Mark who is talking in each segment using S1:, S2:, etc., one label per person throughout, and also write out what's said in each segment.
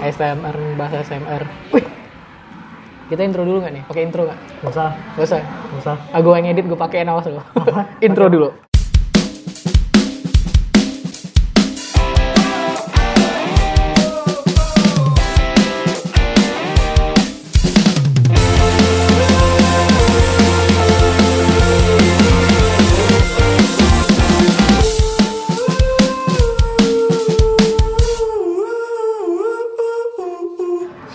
S1: ASMR bahasa ASMR Wih. kita intro dulu nggak nih oke intro nggak
S2: Gak usah,
S1: gak usah
S2: gak usah.
S1: ah, gue yang edit gue pakein awas lo intro dulu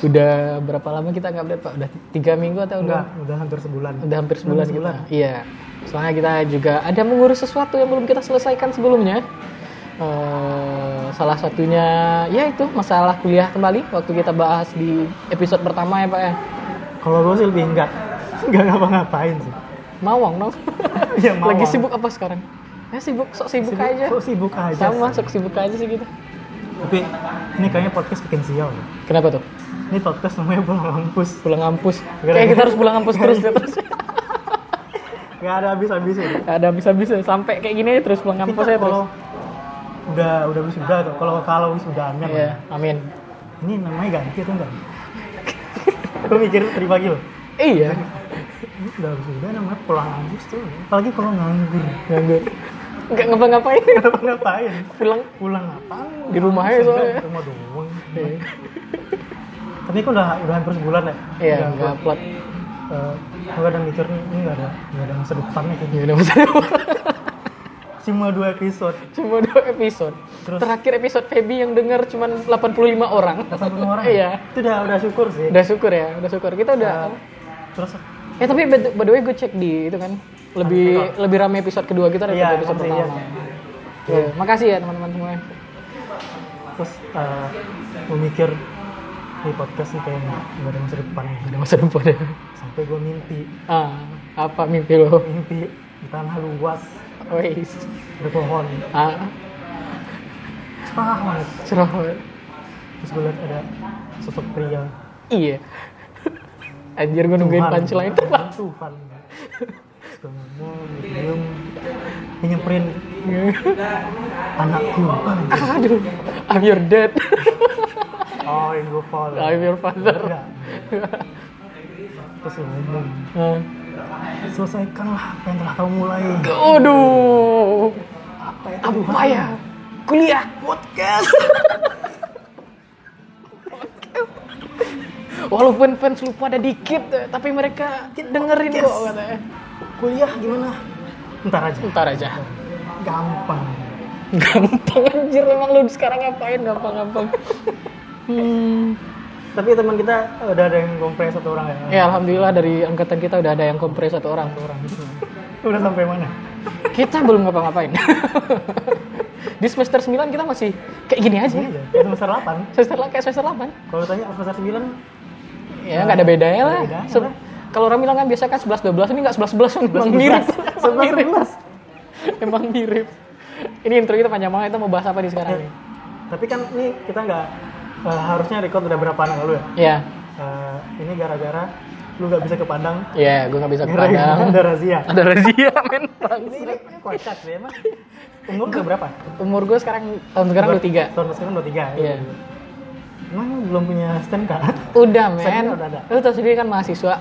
S1: udah berapa lama kita nggak update pak udah tiga minggu atau udah
S2: Enggak, udah hampir sebulan.
S1: udah hampir sebulan kita. Iya. Soalnya kita juga ada mengurus sesuatu yang belum kita selesaikan sebelumnya. Eh, salah satunya ya itu masalah kuliah kembali waktu kita bahas di episode pertama ya Pak ya.
S2: Kalau gue sih lebih enggak. Enggak ngapa-ngapain sih.
S1: Mawang dong.
S2: Ya, mawang.
S1: Lagi sibuk apa sekarang? Ya sibuk sok sibuk, Oh, iya. aja.
S2: Kok sibuk aja.
S1: Sama sok sibuk aja sih kita.
S2: Tapi ini kayaknya podcast bikin sial. ya.
S1: Kenapa tuh?
S2: Ini podcast namanya pulang kampus.
S1: Pulang kampus.
S2: Gara-gara-
S1: Kayak kita harus pulang kampus terus ya, deh, terus.
S2: Gak ada habis-habisnya.
S1: Gak ada bisa-bisa sampai kayak gini aja terus pulang kampus
S2: Kita
S1: ya terus.
S2: kalau udah udah wisuda tuh, kalau kalau wisudanya
S1: Iya, amin.
S2: ini namanya ganti atau enggak? gue mikir terima gitu.
S1: Iya.
S2: Ini udah wisuda namanya pulang kampus tuh. Apalagi kalau nganggur.
S1: Nganggur. Enggak ngapa-ngapain.
S2: Ngapa-ngapain?
S1: Pulang
S2: Pulang apaan?
S1: Di rumah aja Eh, soalnya.
S2: Rumah doang. tapi kok udah udah hampir sebulan ya
S1: Iya,
S2: Udah
S1: nggak kuat.
S2: gue kadang mikir nih ini nggak ada nggak ada masa depannya kayaknya
S1: Ya udah masalah.
S2: cuma dua episode
S1: Cuma dua episode.
S2: Terus?
S1: Terakhir episode Feby yang denger cuma 85 orang.
S2: satu orang
S1: Iya.
S2: itu udah udah syukur sih
S1: Udah syukur ya, udah syukur. Kita udah.
S2: terus
S1: Eh tapi by the by the way gue cek di itu kan lebih lebih rame episode kedua kita daripada
S2: Iya,
S1: episode
S2: pasti,
S1: pertama.
S2: iya.
S1: Iya, makasih ya teman-teman semua.
S2: terus eh, gue mikir nih podcast nih kayaknya nggak ada masa depannya
S1: Ada masa depan ya.
S2: sampai gue mimpi
S1: Ah, apa mimpi lo?
S2: mimpi di tanah luas
S1: Wais.
S2: ada pohon
S1: Ah,
S2: cerah banget
S1: cerah. banget.
S2: terus gue liat ada sosok pria
S1: Iya. Anjir gue nungguin
S2: Tuhan.
S1: punchline itu.
S2: Tuhan Terus gue ngomong diem Dia nyamperin anakku
S1: Aduh, I'm your dad.
S2: oh yang gue follow
S1: I'm your father.
S2: Enggak. terus dia ngomong
S1: Ah.
S2: selesaikanlah apa yang telah kau mulai
S1: Aduh,
S2: apa ya
S1: apa ya? Kuliah.
S2: podcast
S1: Walaupun fans lu pada dikit, eh, tapi mereka dengerin kok katanya.
S2: kuliah gimana ntar aja
S1: Ntar aja.
S2: gampang
S1: Gampang anjir emang lu sekarang ngapain gampang-gampang. Hmm.
S2: tapi teman kita eh, udah ada yang kompres satu orang ya
S1: Ya alhamdulillah dari angkatan kita udah ada yang kompres satu orang, dua orang.
S2: udah sampai mana
S1: Kita belum ngapa-ngapain. Di semester 9 kita masih kayak gini aja.
S2: ini aja kayak semester 8
S1: Semester lah kayak semester 8.
S2: kalau tanya semester 9
S1: Ya nggak ada bedanya lah.
S2: Nggak ada bedanya
S1: Se-
S2: lah.
S1: Kalau orang bilang kan biasa kan 11 12 ini nggak 11 11 emang mirip. Emang
S2: sebelas
S1: mirip.
S2: sebelas
S1: Emang mirip. Ini intro kita panjang banget, kita mau bahas apa nih sekarang nih?
S2: tapi kan ini kita nggak eh, harusnya record udah berapa anak lalu ya
S1: Iya.
S2: Eh, ini gara-gara lu nggak bisa ke Padang
S1: Iya, gue nggak bisa ke
S2: gara-gara
S1: Padang.
S2: ada razia
S1: Ada Iya, razia men.
S2: ini ini kocak sih emang umur udah berapa
S1: Umur gue sekarang tahun sekarang 23.
S2: tahun sekarang dua tiga
S1: Kan
S2: ya?
S1: Iya.
S2: emang lu belum punya stand card
S1: Udah men.
S2: Saya udah ada.
S1: Lu tau sendiri kan mahasiswa.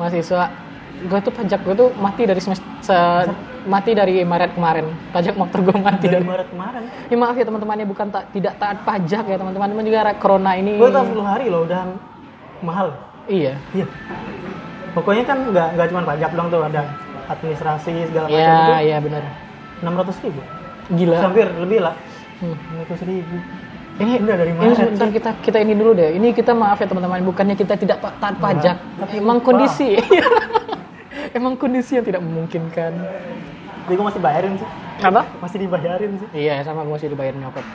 S1: Mahasiswa gue tuh pajak gue tuh mati dari semester se- mati dari Maret kemarin. Pajak motor gue mati dari
S2: dari Maret kemarin
S1: Ya maaf ya teman-temannya bukan ta- tidak taat pajak ya teman-teman. Teman juga ra- corona ini.
S2: gue tahu 10 hari loh udah mahal
S1: Iya.
S2: iya pokoknya kan nggak nggak cuma pajak dong tuh ada administrasi segala macam
S1: Iya,
S2: itu
S1: iya benar.
S2: enam ratus ribu
S1: Gila.
S2: hampir lebih lah
S1: Hmm.
S2: enam ratus ribu
S1: Ini
S2: Udah, dari
S1: Eh, Ini
S2: Maret
S1: sebentar kita kita ini dulu deh. Ini kita maaf ya teman-teman, bukannya kita tidak pa- taat pajak.
S2: tapi
S1: Emang
S2: lupa.
S1: kondisi. Emang kondisi yang tidak memungkinkan.
S2: jadi gue masih bayarin sih
S1: Apa?
S2: masih dibayarin sih
S1: Iya, sama gue masih dibayar nyokap.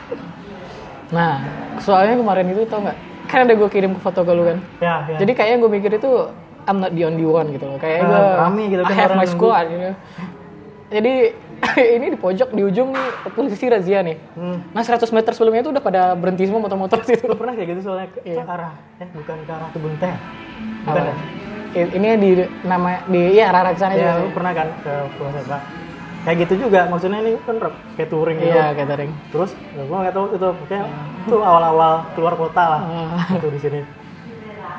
S1: Nah, soalnya kemarin itu tau nggak? Kan ada gue kirim ke foto ke lu kan.
S2: ya ya
S1: Jadi kayaknya gue mikir itu I'm not the only one gitu loh. Kayaknya
S2: Ah,
S1: gue
S2: rame gitu kan
S1: I have
S2: orang
S1: my
S2: nunggu.
S1: squad gitu. Jadi ini di pojok di ujung nih polisi razia nih.
S2: hmm.
S1: Nah 100 meter sebelumnya itu udah pada berhenti semua motor-motor situ.
S2: Lu pernah kayak gitu soalnya ke,
S1: Iya.
S2: ke arah eh bukan ke arah kebun teh bukan
S1: Apa?
S2: ya?
S1: I- Ini di nama di ya arah-arah ke sana
S2: ya
S1: juga.
S2: lu pernah kan ke Pulau Seba kayak gitu juga maksudnya ini kan rep- kayak touring gitu
S1: Iya, catering.
S2: terus gue nggak tahu itu pokoknya itu awal-awal keluar kota lah
S1: Ah.
S2: itu di sini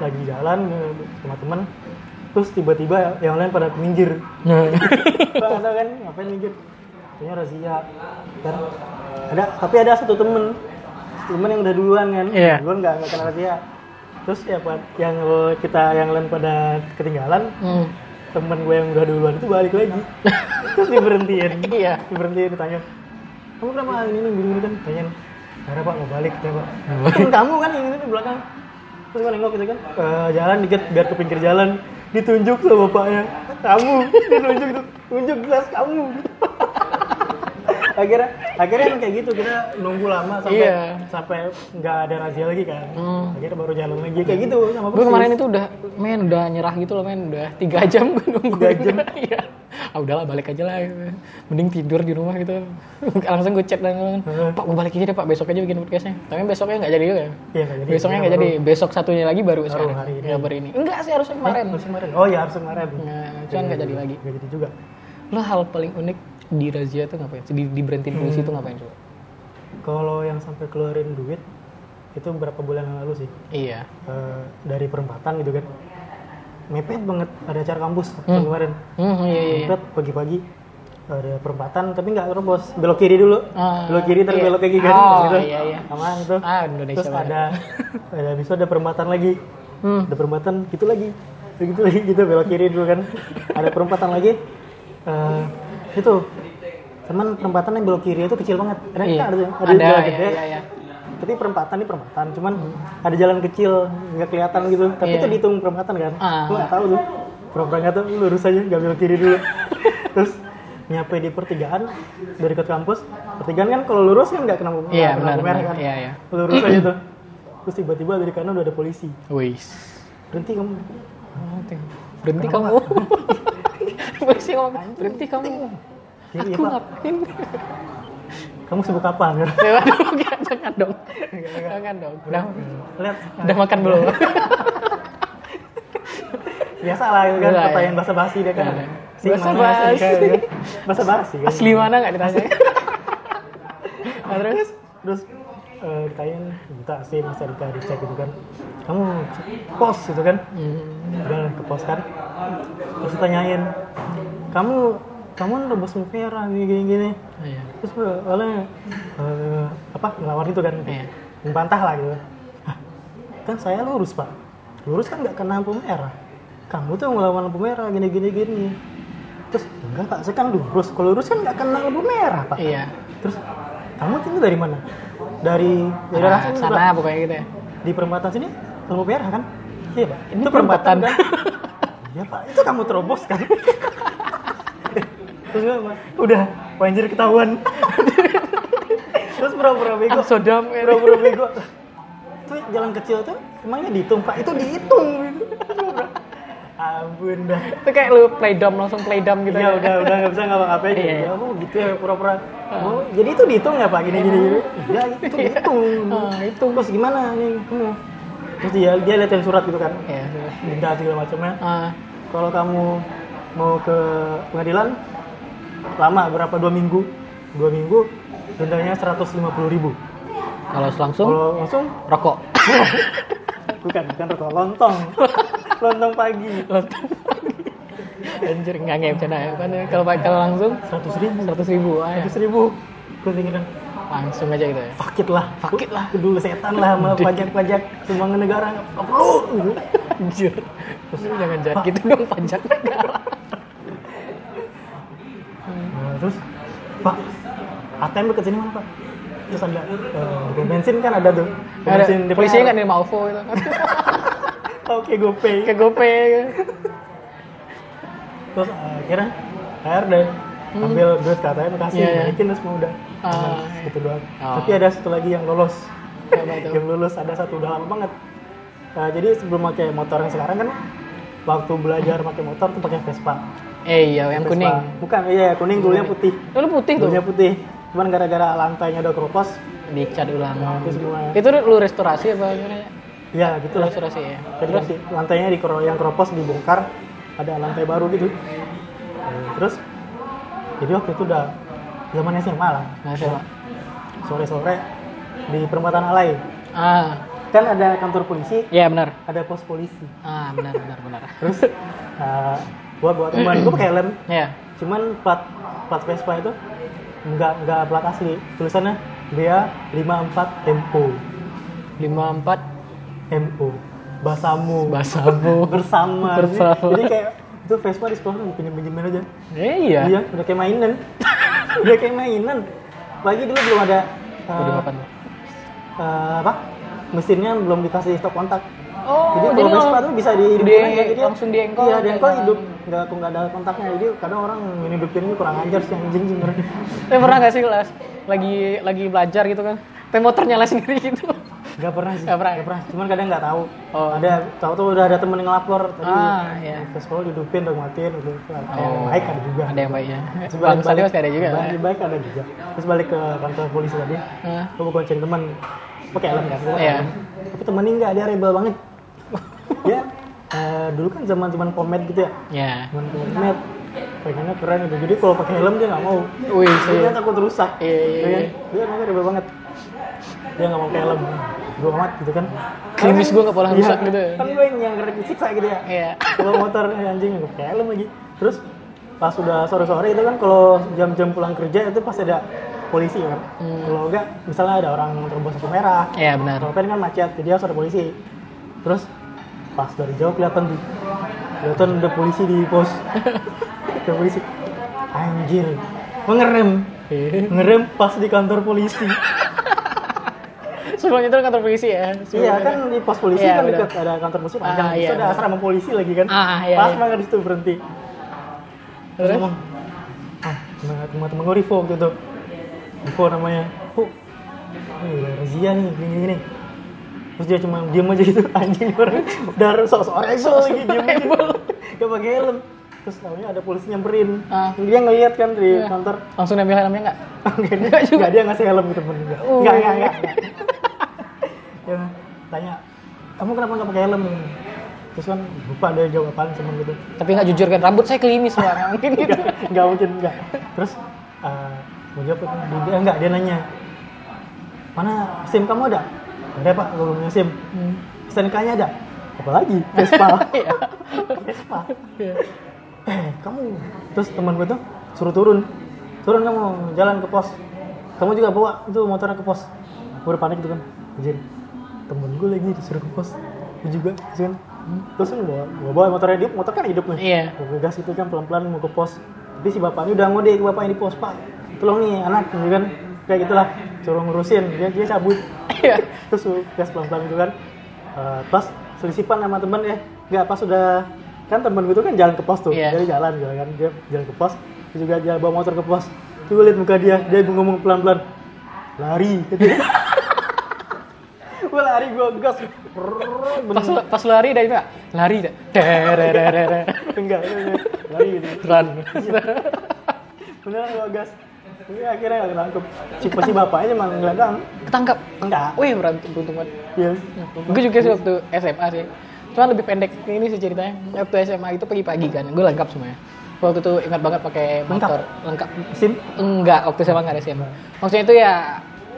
S2: lagi jalan eh, sama teman terus tiba-tiba yang lain pada minggir Iya. Gua nggak tahu kan ngapain minggir punya razia kan ada tapi ada satu temen Satu temen yang udah duluan kan
S1: Iya.
S2: duluan nggak nggak kena razia terus ya Pak, yang eh, kita yang lain pada ketinggalan
S1: Hmm.
S2: temen gue yang udah duluan itu balik lagi terus diberhentiin
S1: Iya.
S2: diberhentiin ditanya kamu kenapa ini ini gini gini kan tanyain karena pak mau balik ya pak temen kamu kan ini di belakang terus gue nengok gitu kan ke jalan dikit biar ke pinggir jalan ditunjuk sama bapaknya kamu ditunjuk tuh tunjuk jelas kamu akhirnya akhirnya emang kayak gitu kita nunggu lama sampai
S1: Iya.
S2: sampai nggak ada razia lagi kan
S1: Hmm.
S2: akhirnya baru jalan lagi kayak gitu sama
S1: Gue kemarin itu udah, men udah nyerah gitu loh men, udah tiga jam gue nunggu.
S2: Tiga jam?
S1: Iya. Ah udahlah balik aja lah. gitu. Mending tidur di rumah gitu. Langsung gue chat dan
S2: Heeh.
S1: Pak gue balik aja deh Pak, besok aja bikin podcastnya. Tapi besoknya nggak jadi juga. ya?
S2: Iya, nggak jadi.
S1: Besoknya nggak
S2: Baru-
S1: jadi, besok satunya lagi baru sekarang.
S2: hari ini.
S1: Ya, baru ini. Enggak sih harusnya kemarin.
S2: harus kemarin oh iya harus kemarin
S1: Nah, cuman nggak jadi lagi.
S2: Gak jadi juga.
S1: Lo hal paling unik di razia tuh ngapain? Di, di berhentiin
S2: Hmm.
S1: polisi tuh ngapain coba?
S2: Kalau yang sampai keluarin duit itu berapa bulan yang lalu sih?
S1: Iya.
S2: Eh, dari perempatan gitu kan. Mepet banget ada acara kampus waktu kemarin.
S1: Hmm, iya, iya, iya.
S2: Mepet pagi-pagi ada perempatan tapi nggak terobos belok kiri dulu
S1: Ah,
S2: belok kiri terus
S1: iya.
S2: belok lagi kan
S1: Oh,
S2: Terus gitu.
S1: iya, iya.
S2: Aman itu
S1: Ah, Indonesia
S2: terus
S1: banget.
S2: ada ada besok ada perempatan lagi
S1: Hmm.
S2: ada perempatan gitu lagi gitu lagi gitu belok kiri dulu kan ada perempatan lagi Eh, itu teman perempatan yang belok kiri itu kecil banget ada
S1: Iya.
S2: ada, ada,
S1: Ada,
S2: jalan
S1: iya,
S2: gede
S1: iya, iya.
S2: tapi perempatan ini perempatan cuman ada jalan kecil nggak kelihatan gitu tapi
S1: Iya.
S2: itu dihitung perempatan kan
S1: Ah.
S2: gua nggak tahu tuh perempatan nggak tahu lurus aja nggak belok kiri dulu terus nyampe di pertigaan dari dekat kampus pertigaan kan kalau lurus kan nggak kena nggak
S1: Iya,
S2: kena
S1: benar,
S2: lampu merah
S1: benar.
S2: kan
S1: Iya, iya.
S2: lurus aja tuh terus tiba-tiba dari kanan udah ada polisi
S1: Wis.
S2: berhenti kamu
S1: Oh, Berhenti kamu. Polisi ngomong, berhenti kamu.
S2: Iya, iya,
S1: Aku
S2: Pak.
S1: ngapain?
S2: kamu sibuk kapan
S1: Lewat dong, gak, jangan dong. Jangan dong. Udah,
S2: lihat
S1: udah makan belum?
S2: biasa lah itu kan
S1: Biasa,
S2: pertanyaan bahasa basi dia kan
S1: Iya.
S2: Sing mana,
S1: Basa-basi.
S2: sing kan, kan. bahasa basi kan
S1: Asli mana gak ditanya? Nah, terus?
S2: terus eh, ditanyain minta sih mas Erika dicek gitu kan kamu pos gitu kan
S1: Iya.
S2: udah ke pos kan terus ditanyain kamu kamu rebus merah gini gini, gini.
S1: Iya.
S2: terus gue- oleh eh, apa ngelawan itu kan
S1: Iya.
S2: membantah lah gitu Hah, kan saya lurus pak lurus kan nggak kena lampu merah kamu tuh yang ngelawan lampu merah gini gini gini terus enggak pak saya kan lurus kalau lurus kan nggak kena lampu merah pak
S1: Iya.
S2: terus kamu itu dari mana dari dari
S1: Nah,
S2: arah sini, Pak.
S1: sana pokoknya gitu ya.
S2: di perempatan sini lampu merah kan iya pak
S1: Ini
S2: itu perempatan,
S1: perempatan.
S2: kan iya pak itu kamu terobos kan terus gue bilang, udah banjir ketahuan terus pura-pura bego
S1: I'm so dumb. man.
S2: pura-pura bego itu jalan kecil tuh emangnya dihitung pak itu dihitung ampun dah
S1: Itu kayak lu play dumb, langsung play dumb gitu.
S2: Iya udah udah nggak bisa ngapa-ngapain
S1: Iya.
S2: ya. Kamu gitu ya pura-pura. Oh, jadi itu dihitung nggak pak gini gini? gini. Iya itu dihitung. Nah,
S1: Ah,
S2: itu terus gimana nih kamu? Terus dia dia liatin surat gitu kan,
S1: Iya. sudah.
S2: denda segala macamnya.
S1: Ah,
S2: Kalau kamu mau ke pengadilan lama berapa dua minggu? Dua minggu dendanya 150.000 ribu.
S1: Kalau langsung,
S2: Kalau langsung
S1: rokok.
S2: bukan bukan rokok lontong, lontong pagi
S1: Anjir, nggak nggak bercanda ya. Kan, Kalau kalau langsung,
S2: 100.000 ribu.
S1: 100 ribu. Ah, ya.
S2: ribu. Gue pikiran,
S1: Langsung aja gitu ya.
S2: fakit lah
S1: Fakit lah.
S2: kedua setan lah sama pajak-pajak sumbangan negara gitu. nggak perlu
S1: Anjir. Terus lu jangan jahat gitu dong pajak negara.
S2: Nah, terus pak ATM dekat sini mana pak terus ada eh, pom bensin kan ada tuh pom
S1: Ada,
S2: bensin DPR.
S1: polisinya nggak nerima OVO gitu.
S2: ya? oke GoPay
S1: Kayak GoPay. gitu.
S2: terus eh, akhirnya air deh ambil duit ke ATM kasih
S1: Iya, iya.
S2: balikin terus mau udah
S1: Ah,
S2: Nah, gitu doang
S1: Ah.
S2: tapi ada satu lagi yang lolos
S1: Apa itu?
S2: yang lulus ada satu udah lama banget Nah, jadi sebelum pakai motor yang sekarang kan waktu belajar pakai motor tuh pakai Vespa
S1: Eh iya, yang
S2: Vespa.
S1: kuning.
S2: Bukan, iya kuning dulunya putih.
S1: Itu lu putih tuh.
S2: Dulunya putih. Cuman gara-gara lantainya udah keropos,
S1: Dicat ulang.
S2: itu semua.
S1: Itu lu restorasi apa gimana? ya?
S2: Ya
S1: Lu
S2: gitu lah.
S1: Restorasi ya.
S2: Terus di- lantainya di yang keropos dibongkar, ada lantai baru gitu. Nah, Terus jadi waktu itu udah zaman SMA lah
S1: Nah, siapa?
S2: sore-sore di perempatan alai
S1: Ah,
S2: kan ada kantor polisi
S1: iya benar.
S2: ada pos polisi
S1: Ah, benar benar benar.
S2: terus eh, gua bawa teman gua pakai helm
S1: Iya.
S2: cuman plat plat Vespa itu nggak nggak plat asli tulisannya BA 54 MO
S1: 54
S2: MO basamu
S1: Basabu.
S2: bersama Jadi-
S1: Bersama.
S2: jadi kayak itu Vespa di sekolah pinjam pinjamin aja
S1: Eh, iya.
S2: iya udah kayak mainan udah kayak mainan lagi dulu belum ada eh,
S1: Waduh, kapan?
S2: eh, apa mesinnya belum dikasih stop kontak
S1: Oh,
S2: jadi kalau Vespa tuh bisa di
S1: di-
S2: hidupin aja, jadi
S1: langsung diengkol,
S2: iya diengkol
S1: kayak-
S2: hidup nggak aku nggak ada kontaknya jadi kadang orang yang hidupin ini kurang ajar sih anjing sebenarnya
S1: Eh pernah gak sih les, lagi lagi belajar gitu kan? Teh motornya nyala sendiri gitu.
S2: Gak pernah sih.
S1: Nggak pernah. ya?
S2: Nggak pernah. Cuman kadang nggak tahu.
S1: Oh.
S2: Ada tahu tuh udah ada temen yang lapor tadi.
S1: Ah, iya.
S2: Vespa lu didupin dong matiin gitu. Ada yang
S1: Oh.
S2: baik ada juga.
S1: Ada yang baiknya.
S2: Terus
S1: Bang Sandi pasti ada juga. ya?
S2: Balik, balik ada juga. Terus balik ke kantor polisi tadi.
S1: Hah?
S2: Gue mau gonceng teman. Pakai helm kan. gua pakai
S1: Iya.
S2: helm. Tapi temennya nggak dia rebel banget. ya. eh, dulu kan zaman zaman komet gitu ya.
S1: Ya.
S2: Zaman komet. Pengennya keren gitu. Jadi kalau pakai helm dia nggak mau.
S1: Wih, sih.
S2: Dia takut rusak.
S1: Iya, iya,
S2: Iya,
S1: iya.
S2: Dia emang rebel banget. Dia nggak mau helm. Gue amat gitu kan.
S1: Klimis gue gak boleh
S2: Iya,
S1: rusak gitu.
S2: Kan gue yang yang kena disiksa gitu ya.
S1: Iya.
S2: Kalau motor eh, anjing gue helm lagi. Terus pas udah sore-sore itu kan kalau jam-jam pulang kerja itu pasti ada polisi kan.
S1: Hmm.
S2: Kalau enggak misalnya ada orang terobos lampu merah,
S1: Iya benar.
S2: kalau kan macet, jadi harus ada polisi. Terus pas dari jauh kelihatan tuh, kelihatan ada polisi di pos. ada polisi. Anjir, mengerem, ngerem pas di kantor polisi.
S1: Sebelum itu kantor polisi ya. Sebelum
S2: iya
S1: itu.
S2: kan di pos polisi
S1: Iya,
S2: kan
S1: benar.
S2: dekat ada kantor polisi panjang,
S1: Ah,
S2: Terus
S1: iya,
S2: ada
S1: benar.
S2: asrama polisi lagi kan.
S1: Ah, iya,
S2: pas
S1: iya.
S2: banget di situ berhenti. Terus
S1: Terus?
S2: ngomong, ah, teman teman teman gue Rivo waktu itu. Rivo namanya. Oh, ini udah razia nih, gini gini. Terus dia cuma diem aja gitu, anjing orang udah sok-sok rebel lagi, diem aja. Gak pakai helm. Terus namanya ada polisi nyamperin.
S1: Ah.
S2: Dia ngeliat kan di
S1: Iya.
S2: kantor.
S1: Langsung ngambil helmnya nggak?
S2: Enggak juga. dia ngasih helm ke temen juga.
S1: Oh.
S2: Enggak, enggak, enggak. Dia Ya, tanya, kamu kenapa nggak pakai helm? Terus kan lupa dia jawab apaan cuman gitu.
S1: Tapi nggak jujur kan rambut saya klimis pak. Nggak Mungkin gitu.
S2: Enggak, enggak mungkin, enggak. Terus eh, mau jawab apa? Dia- dia, enggak, dia nanya. Mana SIM kamu ada? Nggak Ada pak, gue belum punya SIM.
S1: Hmm.
S2: SNK-nya ada? Apa lagi? Vespa.
S1: Iya.
S2: Vespa.
S1: Iya.
S2: eh kamu terus teman gue tuh suruh turun turun kamu jalan ke pos kamu juga bawa itu motornya ke pos gue udah panik gitu kan anjir temen gue lagi disuruh ke pos gue juga terus kan terus gue bawa, gue bawa motornya dia motor kan hidup nih
S1: Iya.
S2: gue gas itu kan pelan pelan mau ke pos tapi si bapaknya udah ngode ke bapaknya di pos pak tolong nih anak gitu kan kayak gitulah suruh ngurusin dia dia cabut
S1: Iya.
S2: terus lu gas pelan-pelan gitu kan Eh, pas selisipan sama temen ya nggak pas sudah kan temen gue tuh kan jalan ke pos tuh
S1: Iya.
S2: jadi jalan gitu kan dia jalan ke pos dia juga jalan bawa motor ke pos tuh gue liat muka dia dia ngomong pelan-pelan lari gitu gue lari gue gas Prrrr,
S1: Pas
S2: bener.
S1: pas lari dari itu nggak? Lari dah. Derererere.
S2: enggak enggak. lari gitu
S1: Run.
S2: beneran gue gas tapi akhirnya gak ketangkep si si bapaknya cuma ngeliatang
S1: Ketangkap.
S2: enggak
S1: Wih beruntung beruntung banget.
S2: iya
S1: Gue juga sih waktu SMA sih. Cuma lebih pendek ini sih ceritanya. Waktu SMA itu pagi-pagi kan, gue lengkap semuanya. Waktu itu ingat banget pakai motor lengkap.
S2: sim
S1: Enggak, waktu SMA nggak ada SMA. Maksudnya itu ya,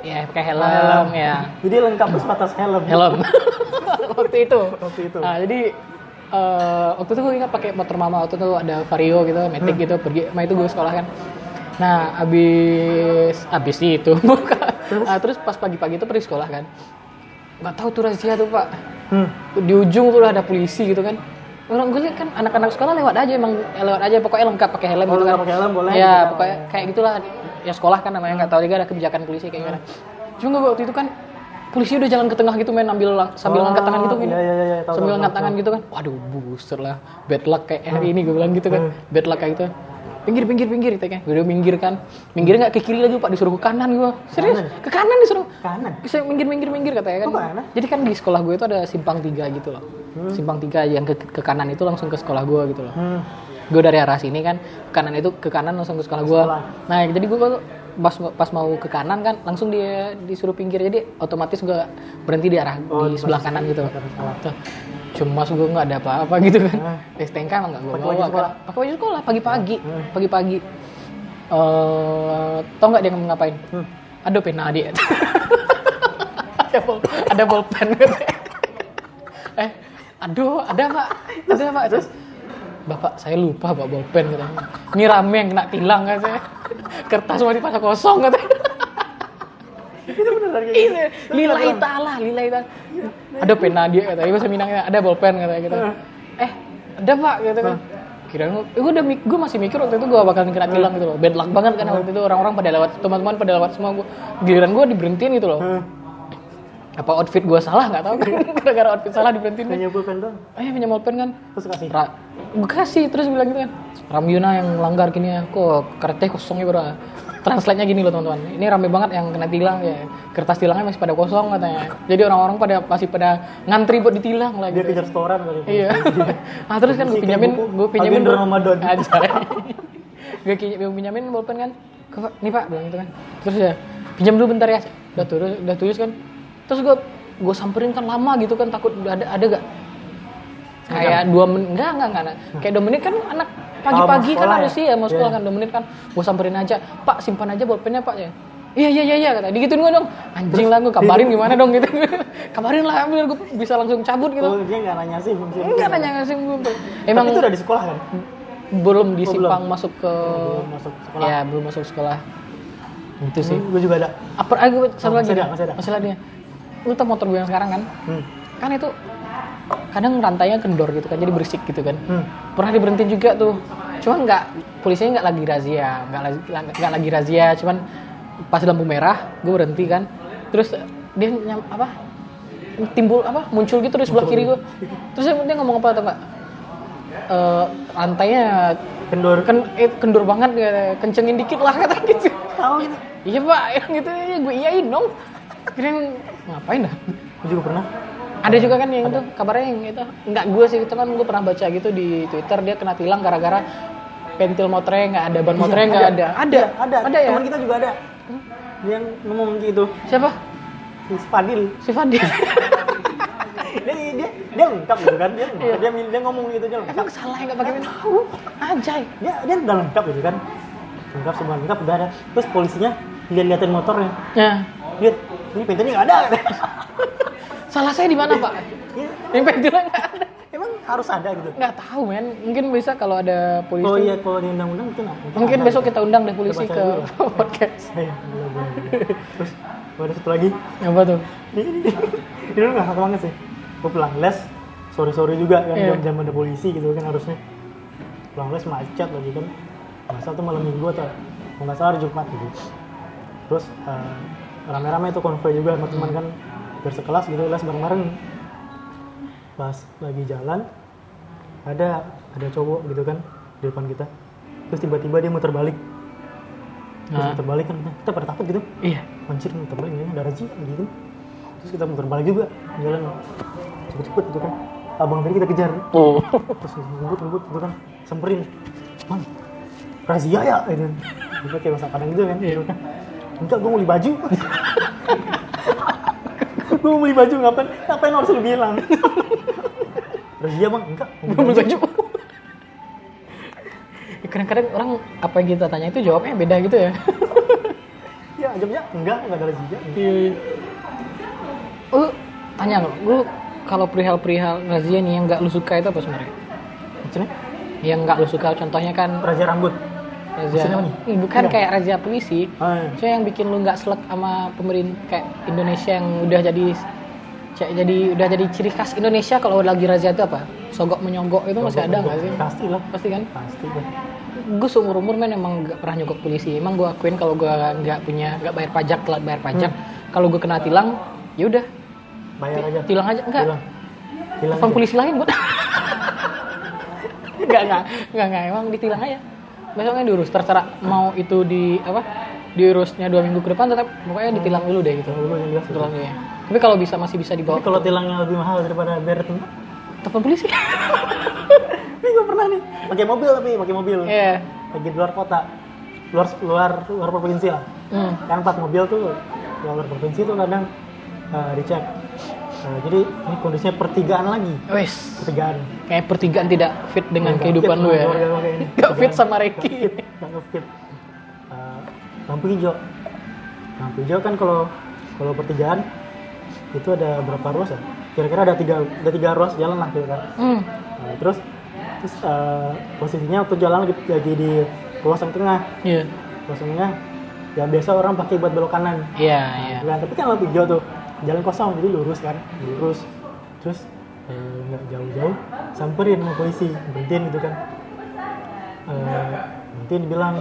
S1: ya pakai helm,
S2: Helm.
S1: ya
S2: jadi lengkap sebatas helm
S1: helm. waktu itu.
S2: Waktu itu.
S1: Nah, jadi eh, waktu itu gue ingat pakai motor mama waktu itu ada vario gitu, matic
S2: Hmm.
S1: gitu pergi. Nah itu gue sekolah kan. Nah abis abis itu buka. Nah, terus pas pagi-pagi itu pergi sekolah kan. Gak tahu tuh razia tuh pak.
S2: Hmm.
S1: Di ujung tuh udah ada polisi gitu kan. Orang gue liat kan anak-anak sekolah lewat aja emang eh, lewat aja pokoknya lengkap pakai helm
S2: Oh,
S1: gitu kan.
S2: lengkap pakai helm boleh,
S1: Iya
S2: gitu kan.
S1: pokoknya kayak gitulah ya sekolah kan namanya nggak tahu juga ada kebijakan polisi kayak gimana. Cuma gue waktu itu kan polisi udah jalan ke tengah gitu main ambil lang- sambil
S2: Oh,
S1: angkat tangan gitu gini.
S2: iya, iya, iya, tahu,
S1: sambil
S2: tahu,
S1: angkat
S2: tahu,
S1: tangan gitu kan. Waduh buset lah bad luck kayak hari ini gue bilang gitu kan.
S2: Hmm.
S1: Bad luck kayak gitu. Pinggir pinggir pinggir gitu kan. Gue udah minggir kan. Minggir nggak ke kiri lagi Pak disuruh ke kanan gue. Serius ke kanan disuruh.
S2: kanan
S1: Bisa minggir minggir minggir katanya kan.
S2: Kok ke kanan?
S1: Jadi kan di sekolah gue itu ada simpang tiga gitu loh. Simpang tiga yang ke, ke kanan itu langsung ke sekolah gue gitu loh
S2: hmm.
S1: gue dari arah sini kan ke kanan itu ke kanan langsung ke sekolah gue
S2: Sekolah.
S1: nah jadi gue pas pas mau ke kanan kan langsung dia disuruh pinggir jadi otomatis gue berhenti di arah
S2: Oh,
S1: di sebelah kanan gitu
S2: sekolah.
S1: Tuh. cuma gue nggak ada apa-apa gitu kan
S2: Nah.
S1: STNK emang nggak gue
S2: Pakai
S1: bawa Nah,
S2: baju sekolah.
S1: kan. pakai baju sekolah pagi-pagi pagi-pagi eh tau nggak dia ngomong ngapain?
S2: Hmm.
S1: Ada pena adik. ada bol, ada bolpen gitu. eh, aduh, ada pak, ada pak. Terus, bapak saya lupa bawa bolpen katanya. Ini rame yang kena tilang katanya. Kertas semua di pasar kosong katanya.
S2: itu beneran kayak gitu.
S1: Ini lillahi ta'ala, lillahi ta'ala. Ada pena dia katanya, bahasa Minangnya ada bolpen katanya gitu. Eh, ada Pak gitu kan. Kirain gua, eh, gua udah mik- gua masih mikir waktu itu gua bakalan kena tilang gitu loh. Bad luck banget kan waktu itu orang-orang pada lewat, teman-teman pada lewat semua gua. Giliran gua diberhentiin gitu loh.
S2: Hah,
S1: Apa outfit gua salah nggak tahu kan. Gara-gara outfit salah
S2: nggak
S1: diberhentiin.
S2: nyebulkan dong
S1: Eh, punya bolpen kan.
S2: terus kasih
S1: Ra Bekasi terus bilang gitu kan. Ramyuna yang langgar gini ya. Kok kertasnya kosong ya, Bro. Translate-nya gini loh, teman-teman. Ini rame banget yang kena tilang ya. Kertas tilangnya masih pada kosong katanya. Jadi orang-orang pada masih pada ngantri buat ditilang lah
S2: dia
S1: gitu.
S2: kejar setoran kali
S1: Iya. ah terus kan gue
S2: Isikan
S1: pinjamin,
S2: buku,
S1: gue pinjamin
S2: Agenda Ramadan.
S1: Aja. gue pinjamin bolpen kan. Ke, Pak, nih Pak bilang gitu kan. Terus ya, pinjam dulu bentar ya. Udah tulis, udah tulis kan. Terus gue gue samperin kan lama gitu kan takut ada ada gak kayak dua menit enggak enggak enggak enggak. kayak dua menit kan anak pagi-pagi kan
S2: sekolah
S1: harus
S2: ya?
S1: sih ya mau sekolah kan dua menit kan gue samperin aja pak simpan aja bolpennya pak ya iya iya iya iya kata digituin gue dong anjing lah gue kabarin gimana dong gitu kabarin lah biar gue bisa langsung cabut gitu
S2: oh dia nggak nanya sih mungkin
S1: Enggak nanya ngasih gue. Iya. Emang Oh.
S2: emang itu udah di sekolah kan
S1: belum di simpang masuk ke
S2: Iya, Belum masuk sekolah
S1: ya belum masuk sekolah. Itu sih.
S2: gue juga ada
S1: Apa ah, gue satu
S2: Oh,
S1: lagi.
S2: masih ada,
S1: nih.
S2: masih ada.
S1: Masalah dia. Lu tau motor gue yang sekarang kan?
S2: hmm.
S1: Kan itu kadang rantainya kendor gitu kan jadi berisik gitu kan.
S2: Hmm.
S1: Pernah diberhentiin juga tuh. Cuman nggak polisinya nggak lagi razia, nggak lagi nggak lagi razia, cuman pas lampu merah gue berhenti kan. Terus dia nyam, apa? timbul apa muncul gitu di sebelah kiri gue terus dia ngomong apa atau enggak Eh rantainya
S2: kendor
S1: kan eh, kendur banget ya, kencengin dikit lah kata gitu
S2: tahu gitu
S1: iya pak yang gitu ya, gue iyain dong kira ngapain dah
S2: gue juga pernah
S1: ada juga kan yang itu kabarnya yang itu nggak gue sih teman gue pernah baca gitu di twitter dia kena tilang gara-gara pentil motornya nggak ada ban motornya nggak ada ada
S2: Iya, ada
S1: ada ya
S2: teman kita juga ada dia ngomong gitu
S1: siapa
S2: si Fadil
S1: si
S2: Iya.
S1: Fadil
S2: dia dia dia lengkap gitu kan
S1: Iya.
S2: dia lengkap. dia dia ngomong gitu dia lengkap
S1: emang salah yang nggak pakai tahu anjay
S2: dia dia udah lengkap gitu kan lengkap semua lengkap udah ada terus polisinya lihat-liatin motornya
S1: ya
S2: lihat ini pentilnya nggak ada
S1: salah saya di mana pak
S2: ya,
S1: yang pentilnya nggak ada
S2: emang harus ada gitu
S1: nggak tahu men mungkin bisa kalau ada polisi
S2: kalau iya kalau di undang-undang mungkin
S1: mungkin
S2: ada
S1: besok
S2: gitu.
S1: kita undang deh polisi ke
S2: Kita baca
S1: podcast
S2: Iya, boleh, boleh, boleh. terus gua ada satu lagi
S1: apa tuh
S2: ini ini ini dulu nggak banget sih gue pulang les sore sore juga kan
S1: Iya.
S2: jam jam ada polisi gitu kan harusnya pulang les macet lagi kan masa tuh malam minggu atau kalau nggak salah hari jumat gitu terus eh, rame-rame itu konvoy juga sama teman kan bersekelas gitu les bareng-bareng pas lagi jalan ada ada cowok gitu kan di depan kita terus tiba-tiba dia muter balik terus
S1: Ah.
S2: muter balik kan kita- kita pada takut gitu
S1: iya
S2: anjir muter balik ini ada razia gitu terus kita muter balik juga jalan cepet-cepet gitu kan abang tadi kita kejar
S1: oh
S2: terus ngebut-ngebut gitu kan semperin man razia ya gitu kita kayak masa kadang gitu kan
S1: Iya.
S2: enggak gue mau beli baju gue mau beli baju ngapain ngapain harus lu bilang razia bang enggak mau beli
S1: belum baju Ya, kadang-kadang orang apa yang kita tanya itu jawabnya beda gitu ya
S2: ya jawabnya enggak enggak ada razia iya.
S1: lu tanya lo lu kalau perihal-perihal razia nih yang nggak lu suka itu apa sebenarnya
S2: maksudnya
S1: yang nggak lu suka contohnya kan
S2: razia rambut
S1: razia
S2: Maksudnya apa nih? Iya.
S1: Ih, bukan kayak razia polisi
S2: ah,
S1: so yang bikin lu nggak selek sama pemerintah kayak Indonesia yang udah jadi kayak jadi udah jadi ciri khas Indonesia kalau lagi razia itu apa sogok menyogok itu masih ada nggak sih
S2: pasti lah
S1: pasti kan
S2: pasti lah
S1: gue seumur umur men emang gak pernah nyogok polisi emang gue akuin kalau gue nggak punya nggak bayar pajak telat bayar pajak kalau gue kena tilang ya udah
S2: bayar aja
S1: tilang aja enggak
S2: hilang hilang
S1: telepon
S2: aja.
S1: polisi lain buat enggak enggak enggak enggak emang ditilang aja besoknya diurus terserah mau itu di apa diurusnya dua minggu ke depan tetap pokoknya ditilang dulu deh gitu
S2: Tilang dulu yang jelas
S1: ditilang dulu ya tapi kalau bisa masih bisa dibawa
S2: Tapi kalau tilangnya lebih mahal daripada bayar tempat
S1: telepon polisi
S2: ini gue pernah nih pakai mobil tapi pakai mobil
S1: ya
S2: lagi di luar kota luar luar luar provinsi lah
S1: hmm.
S2: kan plat mobil tuh luar, luar provinsi tuh kadang eh, dicek Eh, jadi ini kondisinya pertigaan lagi
S1: wes
S2: pertigaan
S1: kayak pertigaan tidak fit dengan
S2: Nggak
S1: kehidupan
S2: fit
S1: lu ya
S2: keluarga gua kayak ini.
S1: gak fit sama Reki
S2: nggak fit lampu hijau lampu hijau kan kalau kalau pertigaan itu ada berapa ruas ya kira-kira ada tiga ada tiga ruas jalan lah kira kan
S1: Hmm.
S2: Nah, terus terus eh, posisinya waktu jalan lagi, lagi di ruas yang tengah
S1: Iya.
S2: ruas yang tengah ya biasa orang pakai buat belok kanan
S1: Iya, iya.
S2: Nah, tapi kan lampu hijau tuh jalan kosong jadi lurus kan lurus terus eh, nggak jauh-jauh samperin sama polisi berhentiin gitu kan Eh, berhentiin bilang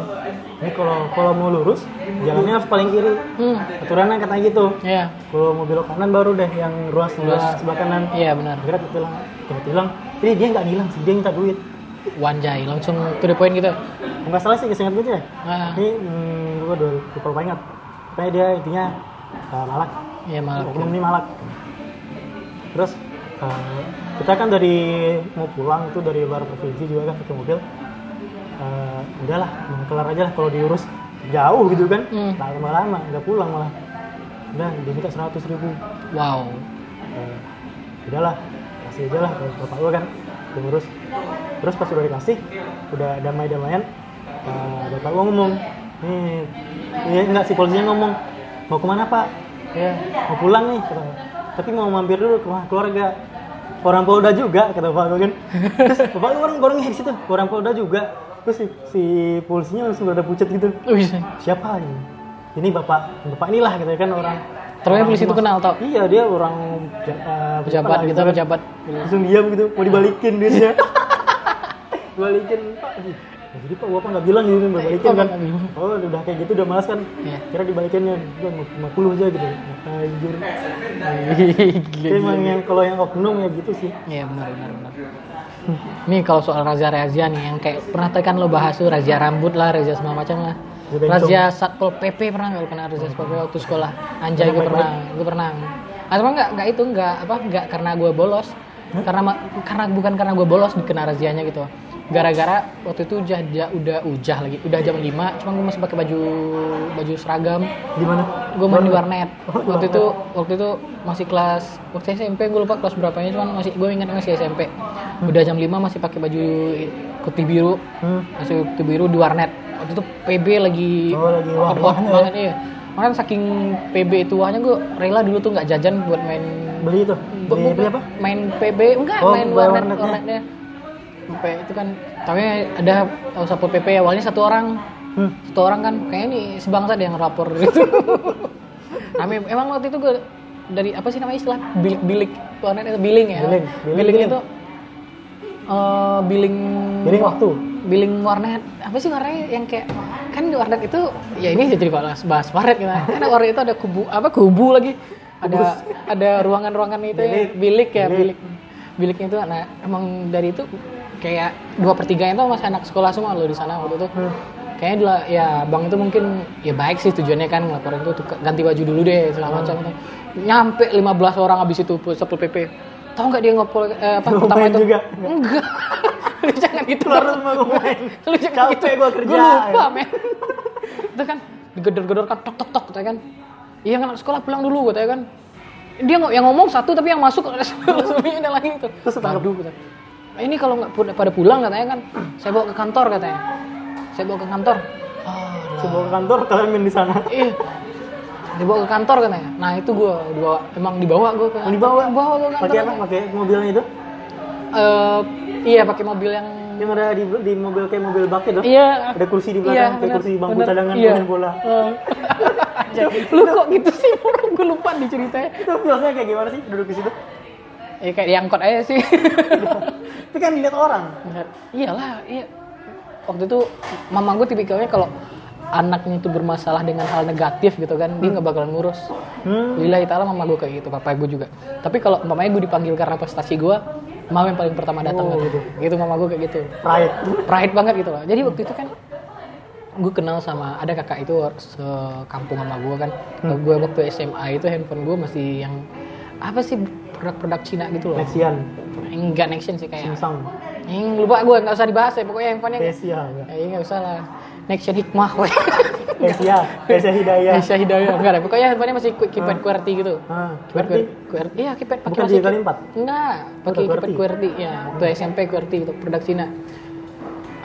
S2: ini kalau kalau mau lurus jalannya harus paling kiri
S1: Hmm.
S2: aturannya katanya gitu
S1: Iya.
S2: kalau mau belok kanan baru deh yang ruas sebelah, sebelah kanan
S1: Iya, benar.
S2: akhirnya tiba bilang tiba bilang ini dia nggak ngilang sih dia minta duit
S1: Wanjai langsung to the point gitu.
S2: nggak salah sih kesengat gue ya
S1: Ah,
S2: ini hmm, gue udah lupa lupa ingat kayak dia intinya eh, malak
S1: iya malah.
S2: oknum ini malak terus eh, kita kan dari mau pulang itu dari luar provinsi juga kan pakai mobil Eh, udahlah mau kelar aja lah kalau diurus jauh gitu kan
S1: Hmm.
S2: lama-lama nggak pulang malah udah dia minta seratus ribu
S1: Wow.
S2: Eh, udahlah kasih aja lah ke bapak gue kan gue ngurus terus pas udah dikasih udah damai-damaian eh, bapak gue ngomong nih iya enggak si polisinya ngomong mau kemana pak ya mau pulang nih kata gue. tapi mau mampir dulu ke rumah keluarga Ke orang Polda juga kata bapak gue kan terus bapak gue orang orang ngehek situ ke orang Polda juga terus si, si polisinya langsung ada pucat gitu
S1: Wih,
S2: siapa ini ini bapak bapak inilah katanya kan orang
S1: Ternyata
S2: orang
S1: polisi itu
S2: rumah-
S1: kenal tau.
S2: Iya dia orang ja- eh,
S1: Pejabat
S2: lah,
S1: gitu,
S2: kan.
S1: pejabat.
S2: Langsung diam gitu, mau dibalikin duitnya. balikin pak. Nah, jadi pak, gua apa nggak bilang gitu, nggak balikin
S1: Pak,
S2: kan?
S1: nggak bilang.
S2: Oh udah kayak gitu udah malas kan?
S1: Iya.
S2: Kira dibalikinnya udah lima puluh aja gitu. Anjir.
S1: Iya, Gila,
S2: Itu
S1: gila.
S2: emang yang kalau yang oknum ya gitu sih.
S1: Iya benar benar benar. Nih kalau soal razia-razia nih yang kayak pernah tadi kan lo bahas tuh razia rambut lah, razia segala macam lah.
S2: Razia bencong.
S1: Razia Satpol PP pernah nggak lo kena razia Satpol PP waktu sekolah? Anjay gue
S2: Pernah,
S1: pernah, gue pernah. Atau enggak enggak itu enggak apa enggak karena gue bolos. Karena ma- karena bukan karena gue bolos dikena razianya gitu. Gara-gara waktu itu jah, jah- udah ujah lagi, udah jam 5, cuman gue masih pakai baju baju seragam
S2: Gimana?
S1: gue main di warnet
S2: Oh, di
S1: waktu
S2: warnet.
S1: itu waktu itu masih kelas waktu SMP gue lupa kelas berapanya cuman masih gue ingat masih SMP udah jam 5 masih pakai baju putih biru
S2: Hmm.
S1: masih putih biru di warnet waktu itu PB lagi
S2: Oh, lagi
S1: hot
S2: wah-wah
S1: hot
S2: ya.
S1: banget iya makanya saking PB itu wahnya gue rela dulu tuh nggak jajan buat main
S2: Beli itu. Beli, beli apa?
S1: main PB enggak
S2: Oh,
S1: main
S2: buat
S1: warnet
S2: warnetnya.
S1: warnetnya sampai itu kan tapi ada oh, satpol PP awalnya satu orang
S2: Hmm.
S1: satu orang kan kayaknya nih sebangsa dia yang rapor gitu. Kami emang waktu itu gue dari apa sih namanya istilah bilik-bilik warnet itu billing ya.
S2: Billing, billing, billing.
S1: itu eh biling
S2: Jadi waktu.
S1: biling warnet apa sih warnanya yang kayak kan di warnet itu ya ini jadi bahas bahas warnet gitu. Karena warnet itu ada kubu apa kubu lagi. Ada ada ruangan-ruangan itu ya,
S2: Bilik.
S1: bilik ya
S2: Bilik.
S1: bilik biliknya itu nah emang dari itu kayak dua per tiga itu masih anak sekolah semua loh di sana waktu itu
S2: Hmm.
S1: kayaknya dila, ya bang itu mungkin ya baik sih tujuannya kan ngelaporin itu tuka- ganti baju dulu deh segala
S2: Hmm.
S1: macam itu. nyampe 15 orang abis itu sepul pp tahu nggak dia ngopol eh, apa
S2: Ngomain
S1: pertama itu
S2: juga.
S1: enggak lu jangan gitu
S2: Keluar
S1: dong.
S2: rumah gue main.
S1: lu jangan gitu
S2: Capek gue kerja.
S1: Gua lupa men itu kan digedor-gedor kan tok tok tok katanya kan iya kan anak sekolah pulang dulu katanya kan dia nggak yang ngomong satu tapi yang masuk suaminya udah lagi gitu
S2: Terus ketangkep.
S1: Waduh, katanya. ini kalau nggak pu- pada pulang katanya kan saya bawa ke kantor katanya saya bawa ke kantor oh,
S2: Sebuah kantor kalian main di sana.
S1: ih dibawa ke kantor katanya nah itu gue dibawa emang dibawa gue ke
S2: Mau Oh, dibawa?
S1: bawa ke kantor
S2: Pakai apa? Pakai mobilnya itu?
S1: Eh, iya pakai mobil yang
S2: Yang ada di, di mobil kayak mobil bak itu?
S1: iya
S2: Ada kursi di
S1: Iya,
S2: belakang, kayak
S1: bener,
S2: kursi bangku
S1: bener.
S2: cadangan
S1: Iya.
S2: pemain bola. nah.
S1: Eh. lu kok gitu sih orang gue lupa nih ceritanya
S2: Itu biasanya kayak gimana sih duduk di situ?
S1: ya kayak diangkut aja sih
S2: Tapi kan dilihat orang.
S1: Bener. Iyalah, iya. Waktu itu mama gue tipikalnya kalau anaknya itu bermasalah dengan hal negatif gitu kan, dia nggak bakalan ngurus.
S2: Hmm.
S1: Lillahi ta'ala mama gue kayak gitu, papa gue juga. Tapi kalau mamanya gue dipanggil karena prestasi gue, mama yang paling pertama datang
S2: Oh,
S1: kan.
S2: gitu.
S1: gitu. mama gue kayak gitu.
S2: Pride.
S1: Pride banget gitu loh. Jadi waktu itu kan gue kenal sama ada kakak itu sekampung sama gue kan.
S2: Hmm.
S1: Gue waktu SMA itu handphone gue masih yang apa sih produk-produk Cina gitu loh.
S2: Nexian,
S1: Enggak action sih kayak
S2: Samsung,
S1: yang lupa gue nggak usah dibahas ya pokoknya handphonenya
S2: Pesia, enggak.
S1: ya nggak usah lah Nextion Hikmah weh
S2: Pesia, Pesia Hidayah.
S1: Aisyah Hidayah enggak ada pokoknya handphonenya masih ki- keypad QWERTY gitu
S2: Ah,
S1: keypad
S2: berarti
S1: QWERTY QWERTY iya keypad pakai
S2: bukan
S1: masih
S2: tiga kali empat.
S1: enggak pakai
S2: udah
S1: keypad
S2: QWERTY.
S1: QWERTY ya waktu SMP QWERTY gitu produk Cina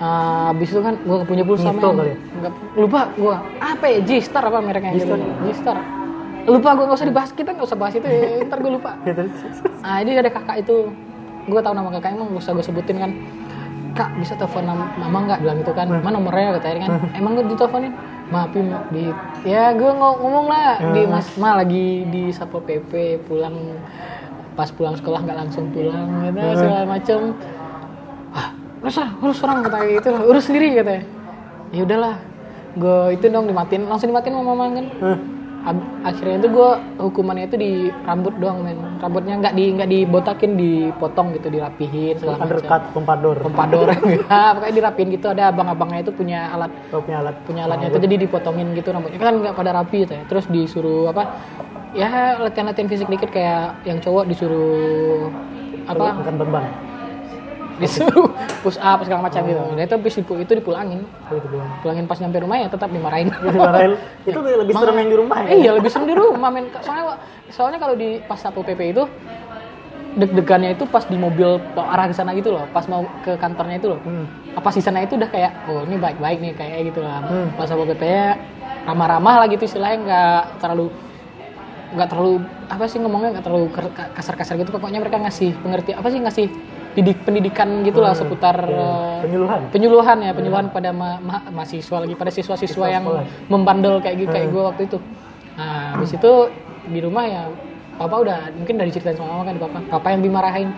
S1: eh, abis Nah, itu kan gue punya pulsa
S2: Mito
S1: men.
S2: kali ya?
S1: Nggak, lupa gue apa ya G-Star apa mereknya gitu
S2: G-Star.
S1: G-Star lupa gue nggak usah dibahas kita nggak usah bahas itu ya. ntar gue lupa
S2: Ya, terus.
S1: ah ini ada kakak itu gue tahu nama kakaknya emang gak usah gue sebutin kan kak bisa telepon nam- mama nggak bilang gitu kan mana nomornya katanya kan emang gue diteleponin maaf Pim, di ya gue ngo- ngomong lah di mas ma lagi di satpol pp pulang pas pulang sekolah nggak langsung pulang gitu segala macem ah urus lah urus orang kata kayak gitu urus sendiri katanya ya udahlah gue itu dong dimatiin langsung dimatiin sama mama kan
S2: Hah,
S1: Ab- akhirnya itu gue hukumannya itu di rambut doang men rambutnya nggak di nggak dibotakin dipotong gitu dirapihin segala macam
S2: Undercut, pompadour.
S1: pompador enggak pokoknya dirapihin gitu ada abang-abangnya itu punya alat
S2: Kau punya alat.
S1: punya alatnya itu jadi dipotongin gitu rambutnya kan nggak pada rapi gitu ya terus disuruh apa ya latihan-latihan fisik dikit kayak yang cowok disuruh
S2: Apa?
S1: apa
S2: Angkat beban.
S1: disuruh push up segala macam gitu nah itu habis dipu- itu dipulangin
S2: Kalau itu doang.
S1: pulangin pas nyampe rumah ya tetap dimarahin
S2: Dimarahin. itu lebih serem yang di rumah ya.
S1: Eh, iya lebih serem di rumah men. Soalnya soalnya kalau di pas satpol pp itu deg-degannya itu pas di mobil arah ke sana gitu loh, pas mau ke kantornya itu loh.
S2: Hmm.
S1: Apa di sana itu udah kayak oh ini baik-baik nih kayak gitu lah.
S2: Hmm.
S1: Pas satpol pp -nya ramah-ramah lah gitu istilahnya nggak terlalu nggak terlalu apa sih ngomongnya nggak terlalu ker- kasar-kasar gitu pokoknya mereka ngasih pengerti apa sih ngasih didik pendidikan gitu
S2: Hmm.
S1: lah seputar eh,
S2: Iya. Penyuluhan.
S1: penyuluhan ya penyuluhan pada ma- ma- mahasiswa lagi pada siswa-siswa yang membandel kayak gitu kayak gue waktu itu nah habis itu di rumah ya papa udah mungkin dari ceritain sama mama kan di papa papa yang dimarahin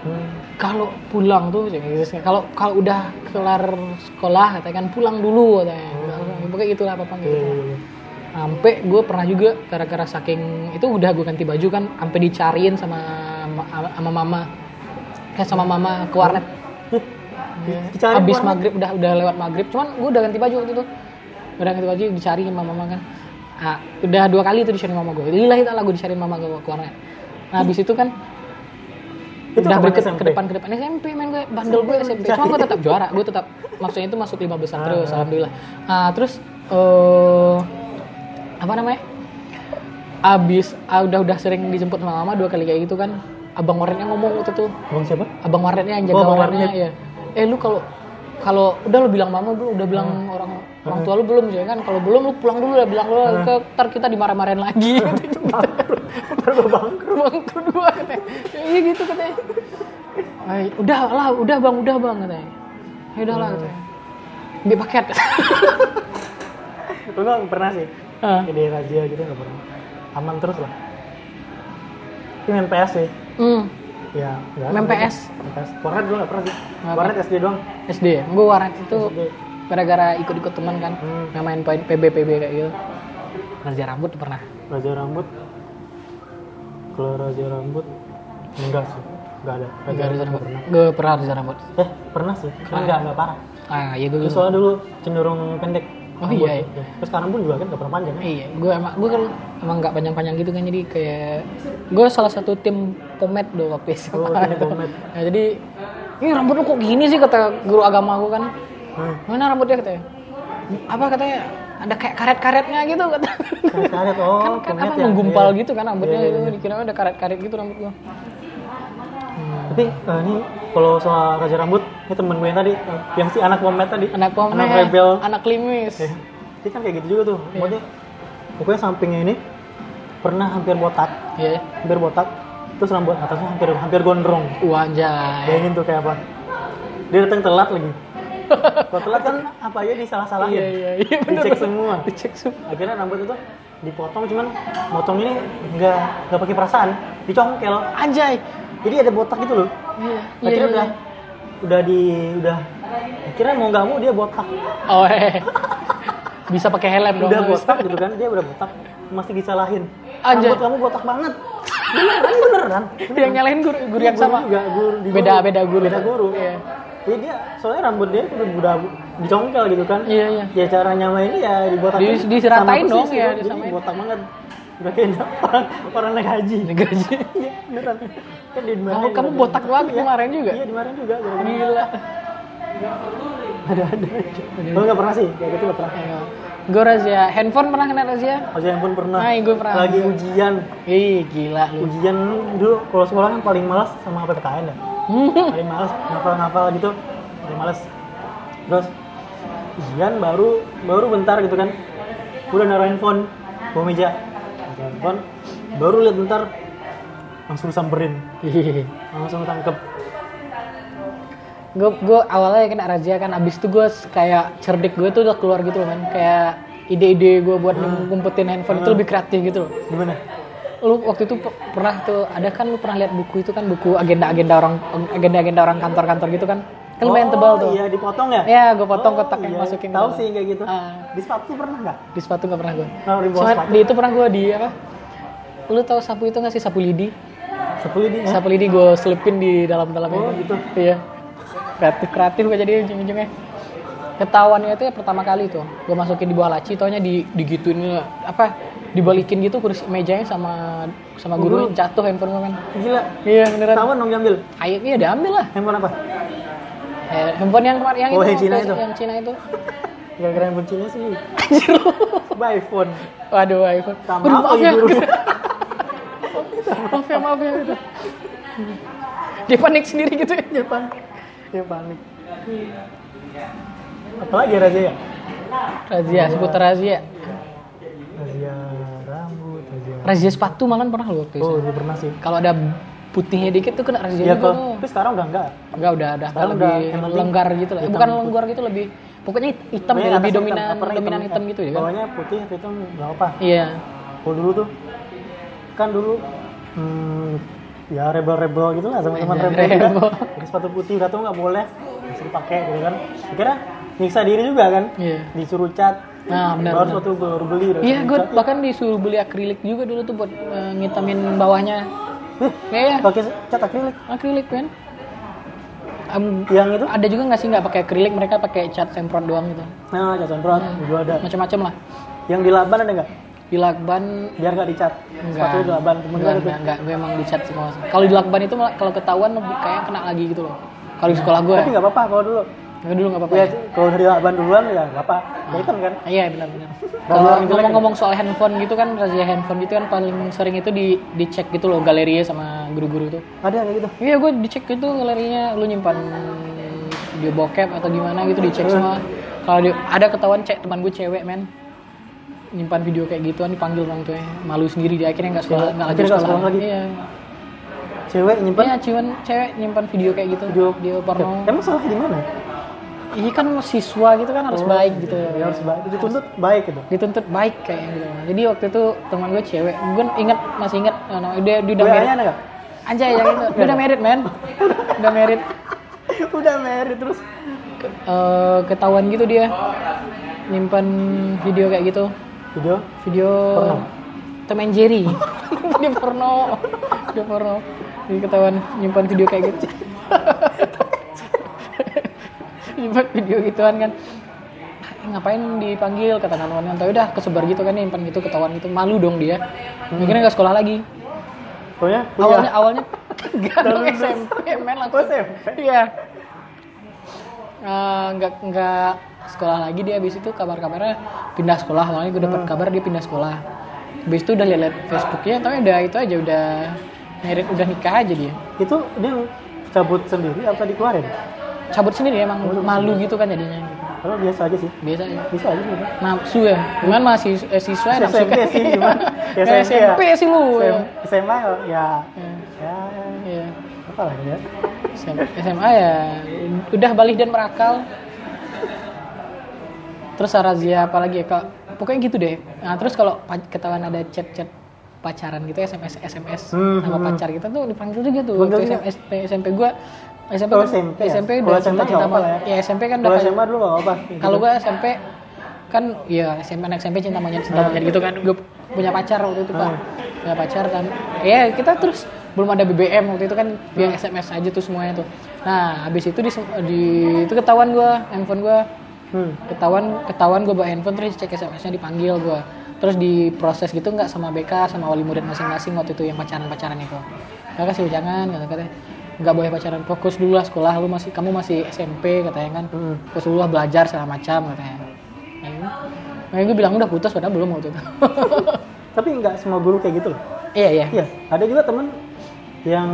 S2: Hmm.
S1: kalau pulang tuh kayak gitu. kalau kalau udah kelar sekolah katanya kan pulang dulu katanya pokoknya gitulah papa
S2: Iya,
S1: gitu
S2: iya, iya.
S1: sampai gue pernah juga gara-gara saking itu udah gue ganti baju kan sampai dicariin sama ma- sama mama kayak sama mama ke warnet
S2: Di-
S1: Abis
S2: dicari warnet.
S1: maghrib udah udah lewat maghrib cuman gue udah ganti baju waktu itu udah ganti baju dicari sama mama kan Ah, udah dua kali itu dicari mama gue lillahi ta'ala gue dicariin mama gue ke warnet nah habis itu kan
S2: Itu
S1: udah
S2: kapan
S1: berikut
S2: SMP?
S1: ke depan ke depan SMP main gue bandel gue SMP cuma gue tetap juara gue tetap maksudnya itu masuk lima besar terus alhamdulillah Ah, terus eh apa namanya abis ah, udah udah sering dijemput sama mama dua kali kayak gitu kan abang warnetnya ngomong waktu itu
S2: Abang siapa?
S1: abang warnetnya yang jaga
S2: Oh, abang
S1: warnetnya ya eh lu kalau kalau udah lu bilang mama belum udah bilang
S2: Ah.
S1: orang orang tua lu belum ya kan kalau belum lu pulang dulu udah bilang lu
S2: Ah.
S1: ke ntar kita dimarah-marahin lagi gitu
S2: Baru bangkrut.
S1: bang kedua katanya Ya, iya gitu katanya Ay, udah lah udah bang udah bang katanya ya udah lah
S2: Hmm.
S1: katanya ambil paket
S2: Lu nggak pernah sih.
S1: Ah.
S2: Ide razia gitu nggak pernah. Aman terus lah. Itu main PS sih.
S1: hmm.
S2: Ya, nggak ada.
S1: Main PS?
S2: Main PS. Warnet dulu nggak pernah sih.
S1: Nggak
S2: Warnet SD doang.
S1: SD ya gue warnet itu
S2: SD.
S1: gara-gara ikut-ikut teman kan
S2: Hmm.
S1: yang main poin PB PB kayak gitu kerja rambut pernah
S2: Raja rambut. Kalau raja rambut enggak sih. Enggak ada.
S1: Gak
S2: Raja rambut
S1: kerja
S2: nggak
S1: rambut
S2: pernah.
S1: gue pernah kerja rambut
S2: Eh, pernah sih. Cuman enggak enggak parah.
S1: ah iya gue
S2: Terus soalnya dulu cenderung pendek.
S1: Oh,
S2: rambut.
S1: iya,
S2: Ya. Terus sekarang pun juga kan nggak pernah panjang kan?
S1: iya gue emang gue kan emang nggak panjang-panjang gitu kan jadi kayak gue salah satu tim pomet dulu waktu SMA
S2: Oh, ini gomet.
S1: Nah, jadi ini rambut lu kok gini sih kata guru agama aku kan.
S2: Hmm.
S1: Mana rambutnya katanya? Apa katanya? Ada kayak karet-karetnya gitu kata.
S2: Karet-karet. Oh,
S1: kan kan apa
S2: gomet ya.
S1: menggumpal
S2: Iya.
S1: gitu kan rambutnya
S2: Iya, iya,
S1: itu dikira ada karet-karet gitu rambut gua.
S2: Tapi eh, ini kalau soal raja rambut, ini temen gue yang tadi, eh, yang si anak pomet tadi,
S1: Anak pomet,
S2: anak rebel,
S1: anak limis.
S2: Eh, dia kan kayak gitu juga tuh. Maksudnya, pokoknya sampingnya ini pernah hampir botak,
S1: Iya.
S2: hampir botak, terus rambut atasnya hampir hampir gondrong.
S1: Wah, Uh, anjay.
S2: Bayangin tuh kayak apa? Dia datang telat lagi. Kalau telat kan apa aja disalah-salahin,
S1: Iya, iya, iya bener.
S2: dicek semua.
S1: Dicek semua.
S2: Akhirnya rambut itu dipotong, cuman motong ini nggak nggak pakai perasaan, dicongkel.
S1: Anjay.
S2: Jadi ada botak gitu loh.
S1: Iya. iya,
S2: akhirnya
S1: iya.
S2: udah udah di udah akhirnya mau nggak mau dia botak
S1: Oh, eh. Bisa pakai helm dong.
S2: udah
S1: bisa.
S2: botak gitu kan dia udah botak masih disalahin
S1: Anjay.
S2: rambut kamu botak banget beneran ini beneran
S1: Yang nyalahin guru, guru yang sama.
S2: juga guru di
S1: Beda- beda guru.
S2: beda guru
S1: Iya.
S2: Jadi dia soalnya rambut dia udah, udah dicongkel gitu kan
S1: Iya, iya.
S2: ya cara nyamainnya ya dibotakin
S1: Di- diseratain
S2: sama
S1: dong
S2: persis
S1: ya,
S2: gitu. jadi
S1: disamain.
S2: botak banget udah kayak orang orang naik haji
S1: Gaji.
S2: iya beneran kan dia dimarahin
S1: Kamu, Oh, kamu
S2: gara-gara-
S1: botak banget
S2: Iya.
S1: kemarin juga.
S2: iya dimarahin juga gara-gara
S1: Gila.
S2: ada ada aja gue nggak pernah sih kayak gitu nggak pernah
S1: Gue razia, handphone pernah kena razia?
S2: aja yang pun pernah
S1: Nah, gue pernah.
S2: lagi ujian
S1: Ih, gila lu.
S2: ujian dulu kalau sekolah kan paling malas sama PPKN ya paling malas ngafal-ngafal gitu paling malas terus Ian baru baru bentar gitu kan udah naruh handphone bawa meja Naruh handphone baru lihat bentar langsung samperin langsung tangkep
S1: gue gue awalnya kena razia kan abis itu gue kayak cerdik gue tuh udah keluar gitu loh man kayak ide-ide gue
S2: Ah.
S1: buat ngumpetin handphone itu lebih kreatif gitu loh
S2: gimana
S1: lu waktu itu pe- pernah tuh ada kan lu pernah lihat buku itu kan buku agenda-agenda orang agenda-agenda orang kantor-kantor gitu kan kan lumayan tebal tuh
S2: iya dipotong ya iya.
S1: ya gue potong kotak yang masukin
S2: tahu
S1: ke-
S2: sih kayak gitu
S1: Ah,
S2: di sepatu pernah nggak
S1: di sepatu nggak pernah gue
S2: naruh di bawah
S1: Soalnya
S2: sepatu
S1: di itu pernah gue di apa lu tahu sapu itu nggak sih sapu lidi
S2: sepuluh di
S1: sapu lidi gue selipin di dalam dalam
S2: oh
S1: itu
S2: gitu
S1: iya kreatif kreatif gue jadi ujung-ujungnya ketahuannya itu ya pertama kali tuh gue masukin di bawah laci taunya di digituin apa dibalikin gitu kursi mejanya sama sama guru
S2: Guru.
S1: jatuh handphone gue kan
S2: gila
S1: iya beneran
S2: tahun dong diambil
S1: Aib iya diambil lah.
S2: handphone apa
S1: Eh, handphone yang kemarin yang
S2: Oh,
S1: itu,
S2: yang Cina
S1: yang-
S2: itu.
S1: yang Cina itu.
S2: gara-gara handphone Cina sih by phone
S1: Waduh, iPhone.
S2: Sama
S1: Waduh,
S2: apa ya, guru?
S1: maaf ya, maaf ya. Gitu. Dia panik sendiri gitu ya.
S2: dia panik dia panik apalagi raja ya
S1: Razia, seputar razia.
S2: razia rambut razia
S1: Razia sepatu malah pernah lu waktu itu.
S2: oh udah pernah sih
S1: Kalau ada putihnya dikit tuh kena razia juga
S2: ya kalau
S1: tuh.
S2: tapi sekarang udah enggak
S1: Enggak udah ada
S2: Sekarang
S1: lebih
S2: udah, yang penting
S1: lenggar gitu lah. Eh,
S2: hitam.
S1: bukan lenggar gitu lebih pokoknya hit- hitam
S2: Pokoknya
S1: ya, lebih
S2: atasnya
S1: dominan
S2: uppernya
S1: dominan hitam, gitu ya kan.
S2: bawahnya putih atau hitam nggak apa
S1: Iya.
S2: kalau dulu tuh kan dulu hmm, ya rebel-rebel gitu lah sama teman
S1: Iya,
S2: rebel juga
S1: rebel.
S2: Pakai sepatu putih udah tuh nggak boleh disuruh pakai gitu kan kira nyiksa diri juga kan
S1: Iya.
S2: disuruh cat
S1: Nah, benar.
S2: baru
S1: benar.
S2: sepatu baru beli baru
S1: Iya,
S2: disuruh
S1: gue
S2: cat.
S1: bahkan disuruh beli akrilik juga dulu tuh buat eh, ngitamin bawahnya.
S2: Ih,
S1: Iya,
S2: pakai cat akrilik
S1: akrilik kan. Em,
S2: yang itu
S1: ada juga nggak sih nggak pakai akrilik mereka pakai cat semprot doang gitu.
S2: nah cat semprot
S1: Hmm.
S2: juga ada
S1: Macam-macam lah.
S2: yang di laban ada nggak
S1: Di lakban
S2: biar nggak dicat
S1: Enggak.
S2: sepatu di laban temen gue
S1: enggak
S2: gitu
S1: enggak enggak gue emang di cat semua. Kalau di lakban itu malah- kalau ketahuan lebih kayak kena lagi gitu loh. Kalau di sekolah gue,
S2: tapi nggak apa-apa kalau dulu
S1: gue dulu nggak apa-apa.
S2: ya
S1: ya.
S2: kalau dari laban duluan ya nggak apa hitam kan
S1: Iya benar-benar.
S2: Baru
S1: Kalau
S2: orang jelek ya?
S1: ngomong-ngomong soal handphone gitu kan razia handphone gitu kan paling sering itu di dicek gitu loh galerinya sama guru-guru tuh.
S2: ada kayak gitu
S1: Iya gue dicek gitu galerinya lu nyimpan video bokep atau gimana gitu dicek semua. Kalau di- ada ketahuan cek teman gue cewek men nyimpan video kayak gituan dipanggil orang tuanya malu sendiri dia akhirnya nggak sekolah
S2: Iya,
S1: nggak lagi
S2: akhirnya nggak
S1: sekolah,
S2: sekolah lagi.
S1: Iya.
S2: cewek nyimpen
S1: Iya cuman cewek nyimpan video kayak gitu
S2: Video-
S1: video porno.
S2: emang salah di mana
S1: Iya kan siswa gitu kan harus baik gitu.
S2: ya harus baik dituntut baik gitu
S1: dituntut baik kayaknya gitu. Jadi waktu itu teman gue cewek, gue inget masih inget, eh, nama- dia, dia udah
S2: WA-nya
S1: married.
S2: ada nggak
S1: Anjay ya gitu, dia udah married men, udah married.
S2: udah married terus
S1: Ke- eh, ketahuan gitu dia, nyimpan video kayak gitu,
S2: video
S1: video
S2: Porno.
S1: Tom and Jerry, dia porno, dia porno. Jadi ketahuan nyimpan video kayak gitu. nyimpan video gituan kan "Eh, ngapain dipanggil kata kawan kan udah kesebar gitu kan nyimpan gitu ketahuan gitu malu dong dia
S2: Hmm.
S1: akhirnya nggak sekolah lagi
S2: pokoknya
S1: awalnya
S2: kuliah
S1: awalnya nggak dong
S2: Lalu terus.
S1: SMP main
S2: Iya. Oh,
S1: langsung
S2: SMP.
S1: iya Eh, nggak nggak sekolah lagi dia habis itu kabar-kabarnya pindah sekolah awalnya gue dapat kabar dia pindah sekolah habis itu udah lihat Facebooknya tapi udah itu aja udah merit udah nikah aja dia
S2: itu dia cabut sendiri apa dikeluarin
S1: cabut sendiri emang malu gitu kan jadinya
S2: kalau biasa aja sih
S1: biasa aja
S2: bisa aja sih
S1: nafsu ya cuman masih eh, siswa ya nafsu
S2: SMP sih cuman ya
S1: SMP,
S2: SMP ya
S1: sih lu ya.
S2: SMA ya ya
S1: Iya.
S2: apa lah ya
S1: SM- SMA ya udah balik dan merakal terus razia apa lagi ya kak pokoknya gitu deh nah terus kalau pa- ketahuan ada chat-chat pacaran gitu SMS SMS
S2: Hmm,
S1: sama
S2: hmm.
S1: pacar kita tuh dipanggil juga tuh
S2: Dipanggil
S1: waktu
S2: juga.
S1: SMP SMP gua SMP
S2: Oh,
S1: kan-
S2: SMP ya?
S1: SMP
S2: Kalau
S1: udah
S2: SMA
S1: cinta cinta
S2: nggak apa lah ya.
S1: ya SMP kan udah
S2: kalau SMA dulu nggak apa Gitu.
S1: kalau gue SMP kan ya SMP anak SMP cinta monyet cinta monyet gitu kan gue punya pacar waktu itu pak
S2: Hmm.
S1: punya pacar kan ya kita terus belum ada BBM waktu itu kan via SMS aja tuh semuanya tuh nah habis itu di, di itu ketahuan gue handphone gue
S2: hmm.
S1: ketahuan ketahuan gue bawa handphone terus cek SMS-nya dipanggil gue terus diproses gitu nggak sama BK sama wali murid masing-masing waktu itu yang pacaran-pacaran itu Ya, kakak sih jangan kata katanya nggak boleh pacaran fokus dulu lah sekolah lu masih kamu masih SMP katanya kan
S2: Hmm.
S1: fokus dulu lah belajar segala macam katanya nah, nah gue bilang udah putus padahal belum waktu itu
S2: tapi nggak semua guru kayak gitu loh
S1: iya iya
S2: iya ada juga temen yang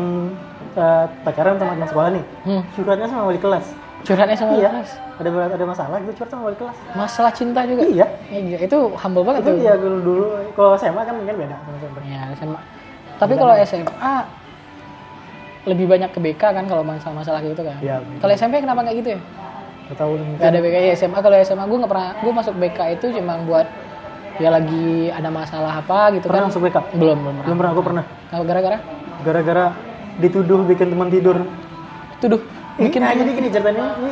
S2: eh, pacaran sama teman sekolah nih
S1: hmm.
S2: curhatnya sama wali kelas
S1: curhatnya sama
S2: iya
S1: Oh, kelas.
S2: ada ada masalah gitu curhat sama wali kelas
S1: Masalah cinta juga.
S2: iya
S1: Eh, gila, itu humble banget
S2: itu
S1: tuh.
S2: ya dulu dulu kalau SMA kan mungkin beda sama SMP
S1: Ya, SMA. Tapi kalau
S2: Iya.
S1: SMA lebih banyak ke BK kan kalau masalah-masalah kayak gitu kan.
S2: Iya.
S1: Kalau SMP kenapa nggak gitu ya?
S2: Gak tahu
S1: Gak ada BK ya SMA kalau SMA gue nggak pernah gue masuk BK itu cuma buat ya lagi ada masalah apa gitu
S2: pernah
S1: kan
S2: masuk BK
S1: belum belum
S2: belum pernah aku pernah
S1: Nah, gara-gara
S2: gara-gara dituduh bikin teman tidur
S1: tuduh
S2: bikin nah, jadi gini ceritanya ini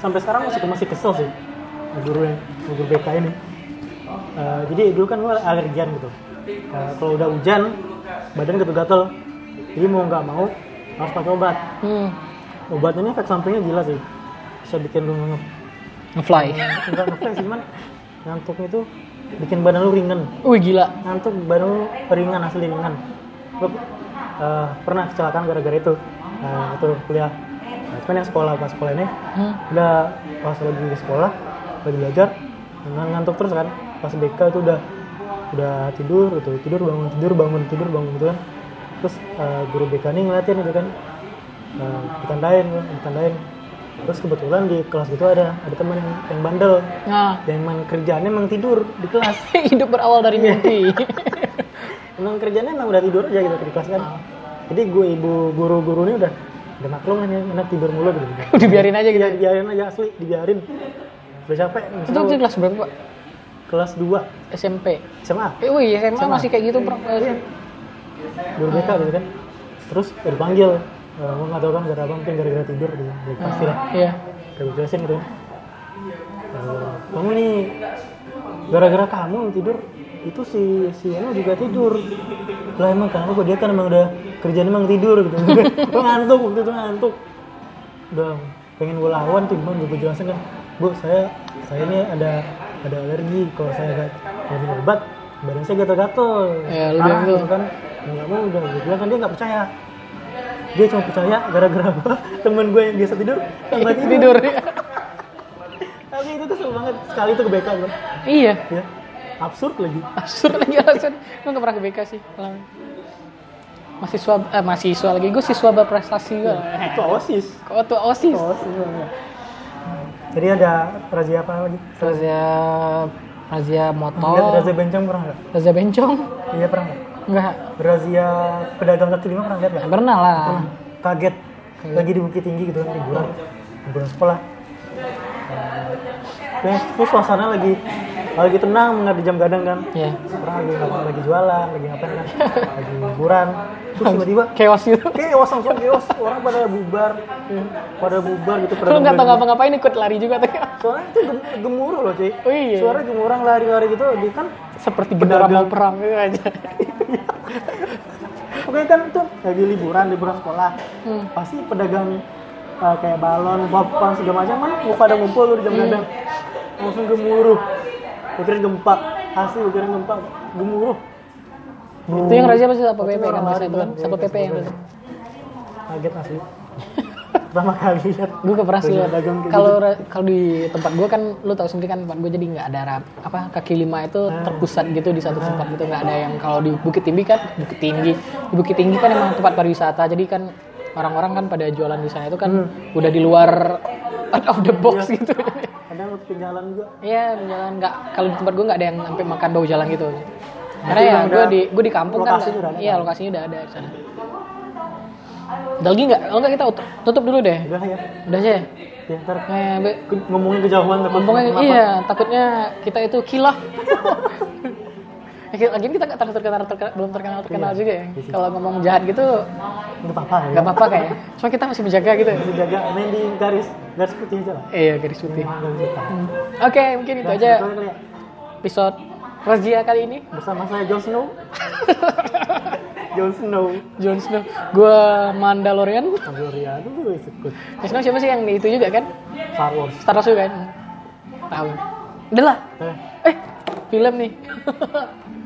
S2: sampai sekarang masih masih kesel sih guru yang guru BK ini Eh, jadi dulu kan gue alergian gitu Eh, kalau udah hujan badan gatel-gatel jadi mau nggak mau harus pakai obat
S1: hmm,
S2: obatnya ini efek sampingnya gila sih bisa bikin lu ngantuk
S1: fly
S2: nggak ngeflash sih, cuman ngantuknya itu bikin badan lu ringan
S1: wih gila
S2: ngantuk badan lu ringan asli ringan gue pernah kecelakaan gara-gara itu nah, itu kuliah nah, cuman yang sekolah pas sekolah ini
S1: hmm.
S2: udah pas lagi di sekolah lagi belajar ngan- ngantuk terus kan pas BK itu udah udah tidur gitu tidur bangun tidur bangun tidur bangun gitu kan terus eh, guru BK ini ngeliatin gitu kan Eh, ditandain kan, ditandain terus kebetulan di kelas itu ada ada teman yang, yang bandel
S1: nah
S2: yang emang kerjaannya emang tidur di kelas
S1: hidup berawal dari mimpi
S2: emang kerjaannya emang udah tidur aja gitu di kelas kan jadi gue ibu guru-guru ini udah udah maklum kan ya, anak tidur mulu gitu
S1: dibiarin aja gitu
S2: Iya, dibiarin aja asli dibiarin udah capek
S1: itu waktu kelas berapa Pak?
S2: kelas 2
S1: SMP
S2: SMA
S1: eh wih SMA, masih kayak gitu bro
S2: Iya, guru BK gitu kan terus udah dipanggil Eh, gue nggak tahu kan gara apa mungkin gara-gara tidur gitu ya, pasti lah
S1: iya
S2: kayak gue jelasin gitu kan Eh, kamu nih gara-gara kamu yang tidur itu si si Eno juga tidur lah emang kenapa kok dia kan emang udah kerjaan emang tidur gitu gue ngantuk waktu itu ngantuk udah pengen gue lawan tuh cuman gue jelasin kan bu saya saya ini ada ada alergi kalau saya nggak nggak minum obat badan saya gatal-gatal
S1: Ya, lu
S2: Parah
S1: bilang gitu.
S2: gitu kan nggak mau udah gue bilang kan dia nggak percaya dia cuma percaya gara-gara apa temen gue yang biasa tidur tambah tidur
S1: Iya, tidur
S2: tapi itu tuh seru banget sekali itu ke BK gue
S1: iya
S2: ya absurd lagi
S1: absurd lagi alasan gue nggak pernah ke BK sih alami mahasiswa eh, mahasiswa lagi gue siswa berprestasi gue
S2: itu osis
S1: kau tuh osis
S2: osis banget. jadi ada razia apa lagi
S1: razia razia motor
S2: Lihat razia bencong pernah nggak
S1: razia bencong
S2: iya pernah nggak
S1: enggak
S2: razia pedagang kaki lima pernah lihat nggak
S1: pernah lah
S2: Ah. kaget lagi di bukit tinggi gitu kan liburan liburan sekolah terus, terus suasana lagi lagi tenang nggak di jam gadang kan
S1: ya
S2: pernah lagi ngapain lagi jualan lagi ngapain kan lagi liburan terus tiba-tiba
S1: chaos gitu
S2: chaos langsung chaos orang pada bubar pada bubar gitu pada
S1: lu nggak tahu
S2: gembar-gembar.
S1: ngapa-ngapain ikut lari juga tuh
S2: soalnya itu gem- gemuruh loh cuy
S1: oh iya
S2: suara gemurang lari-lari gitu di kan
S1: seperti bendera mau
S2: Pedagang.
S1: perang gitu aja
S2: oke kan itu lagi liburan liburan sekolah
S1: Hmm.
S2: pasti pedagang uh, kayak balon popcorn segala macam kan mau pada ngumpul tuh di
S1: Iya.
S2: jam gadang langsung gemuruh pikirin gempa asli pikirin gempa gemuruh
S1: itu yang razia pasti apa
S2: Itu
S1: PP kan
S2: orang
S1: biasanya itu
S2: lari
S1: kan
S2: juga.
S1: Satpol
S2: Iya,
S1: PP yang
S2: Satpol kaget asli pertama kali lihat
S1: gue gak pernah sih
S2: Pedagang kayak gitu.
S1: kalau ra- kalau di tempat gue kan lu tahu sendiri kan tempat gue jadi nggak ada rap- apa kaki lima itu
S2: Ah.
S1: terpusat gitu di satu tempat gitu nggak ada yang kalau di Bukit Tinggi kan Bukit Tinggi di Bukit Tinggi kan emang tempat pariwisata jadi kan orang-orang kan pada jualan di sana itu kan
S2: Hmm.
S1: udah di luar out of the box
S2: Iya.
S1: gitu
S2: kadang waktu jalan juga
S1: Iya jalan nggak kalau di tempat gue nggak ada yang sampai makan bau jalan gitu karena ya gue di gue di kampung kan
S2: lokasinya udah ada,
S1: iya lokasinya udah ada di sana ada lagi nggak kalau nggak kita ut- tutup dulu deh
S2: udah ya
S1: udah aja ya?
S2: ya ntar
S1: Eh, Be,
S2: ke- ngomongin kejauhan takut
S1: Ngomongnya
S2: kenapa.
S1: iya, takutnya kita itu kilaf. Lagi kita nggak terkenal, terkenal, terkenal- belum terkenal terkenal
S2: Iya.
S1: juga ya. Kalau ngomong jahat gitu
S2: nggak apa-apa ya
S1: nggak apa-apa kayaknya. Cuma kita masih menjaga gitu. ya.
S2: dijaga main di garis garis putih aja lah
S1: Iya garis putih.
S2: Main garis putih.
S1: Oke mungkin itu
S2: Nah,
S1: Hmm, aja
S2: itu kali ya.
S1: episode Razia kali ini.
S2: bersama saya Jon Snow Jon Snow
S1: Jon Snow, gue Mandalorian.
S2: Mandalorian dulu ikut
S1: Jon Snow siapa sih yang di itu juga kan?
S2: Star Wars
S1: Star Wars juga kan? Tahu. Udah lah.
S2: eh
S1: Eh film nih.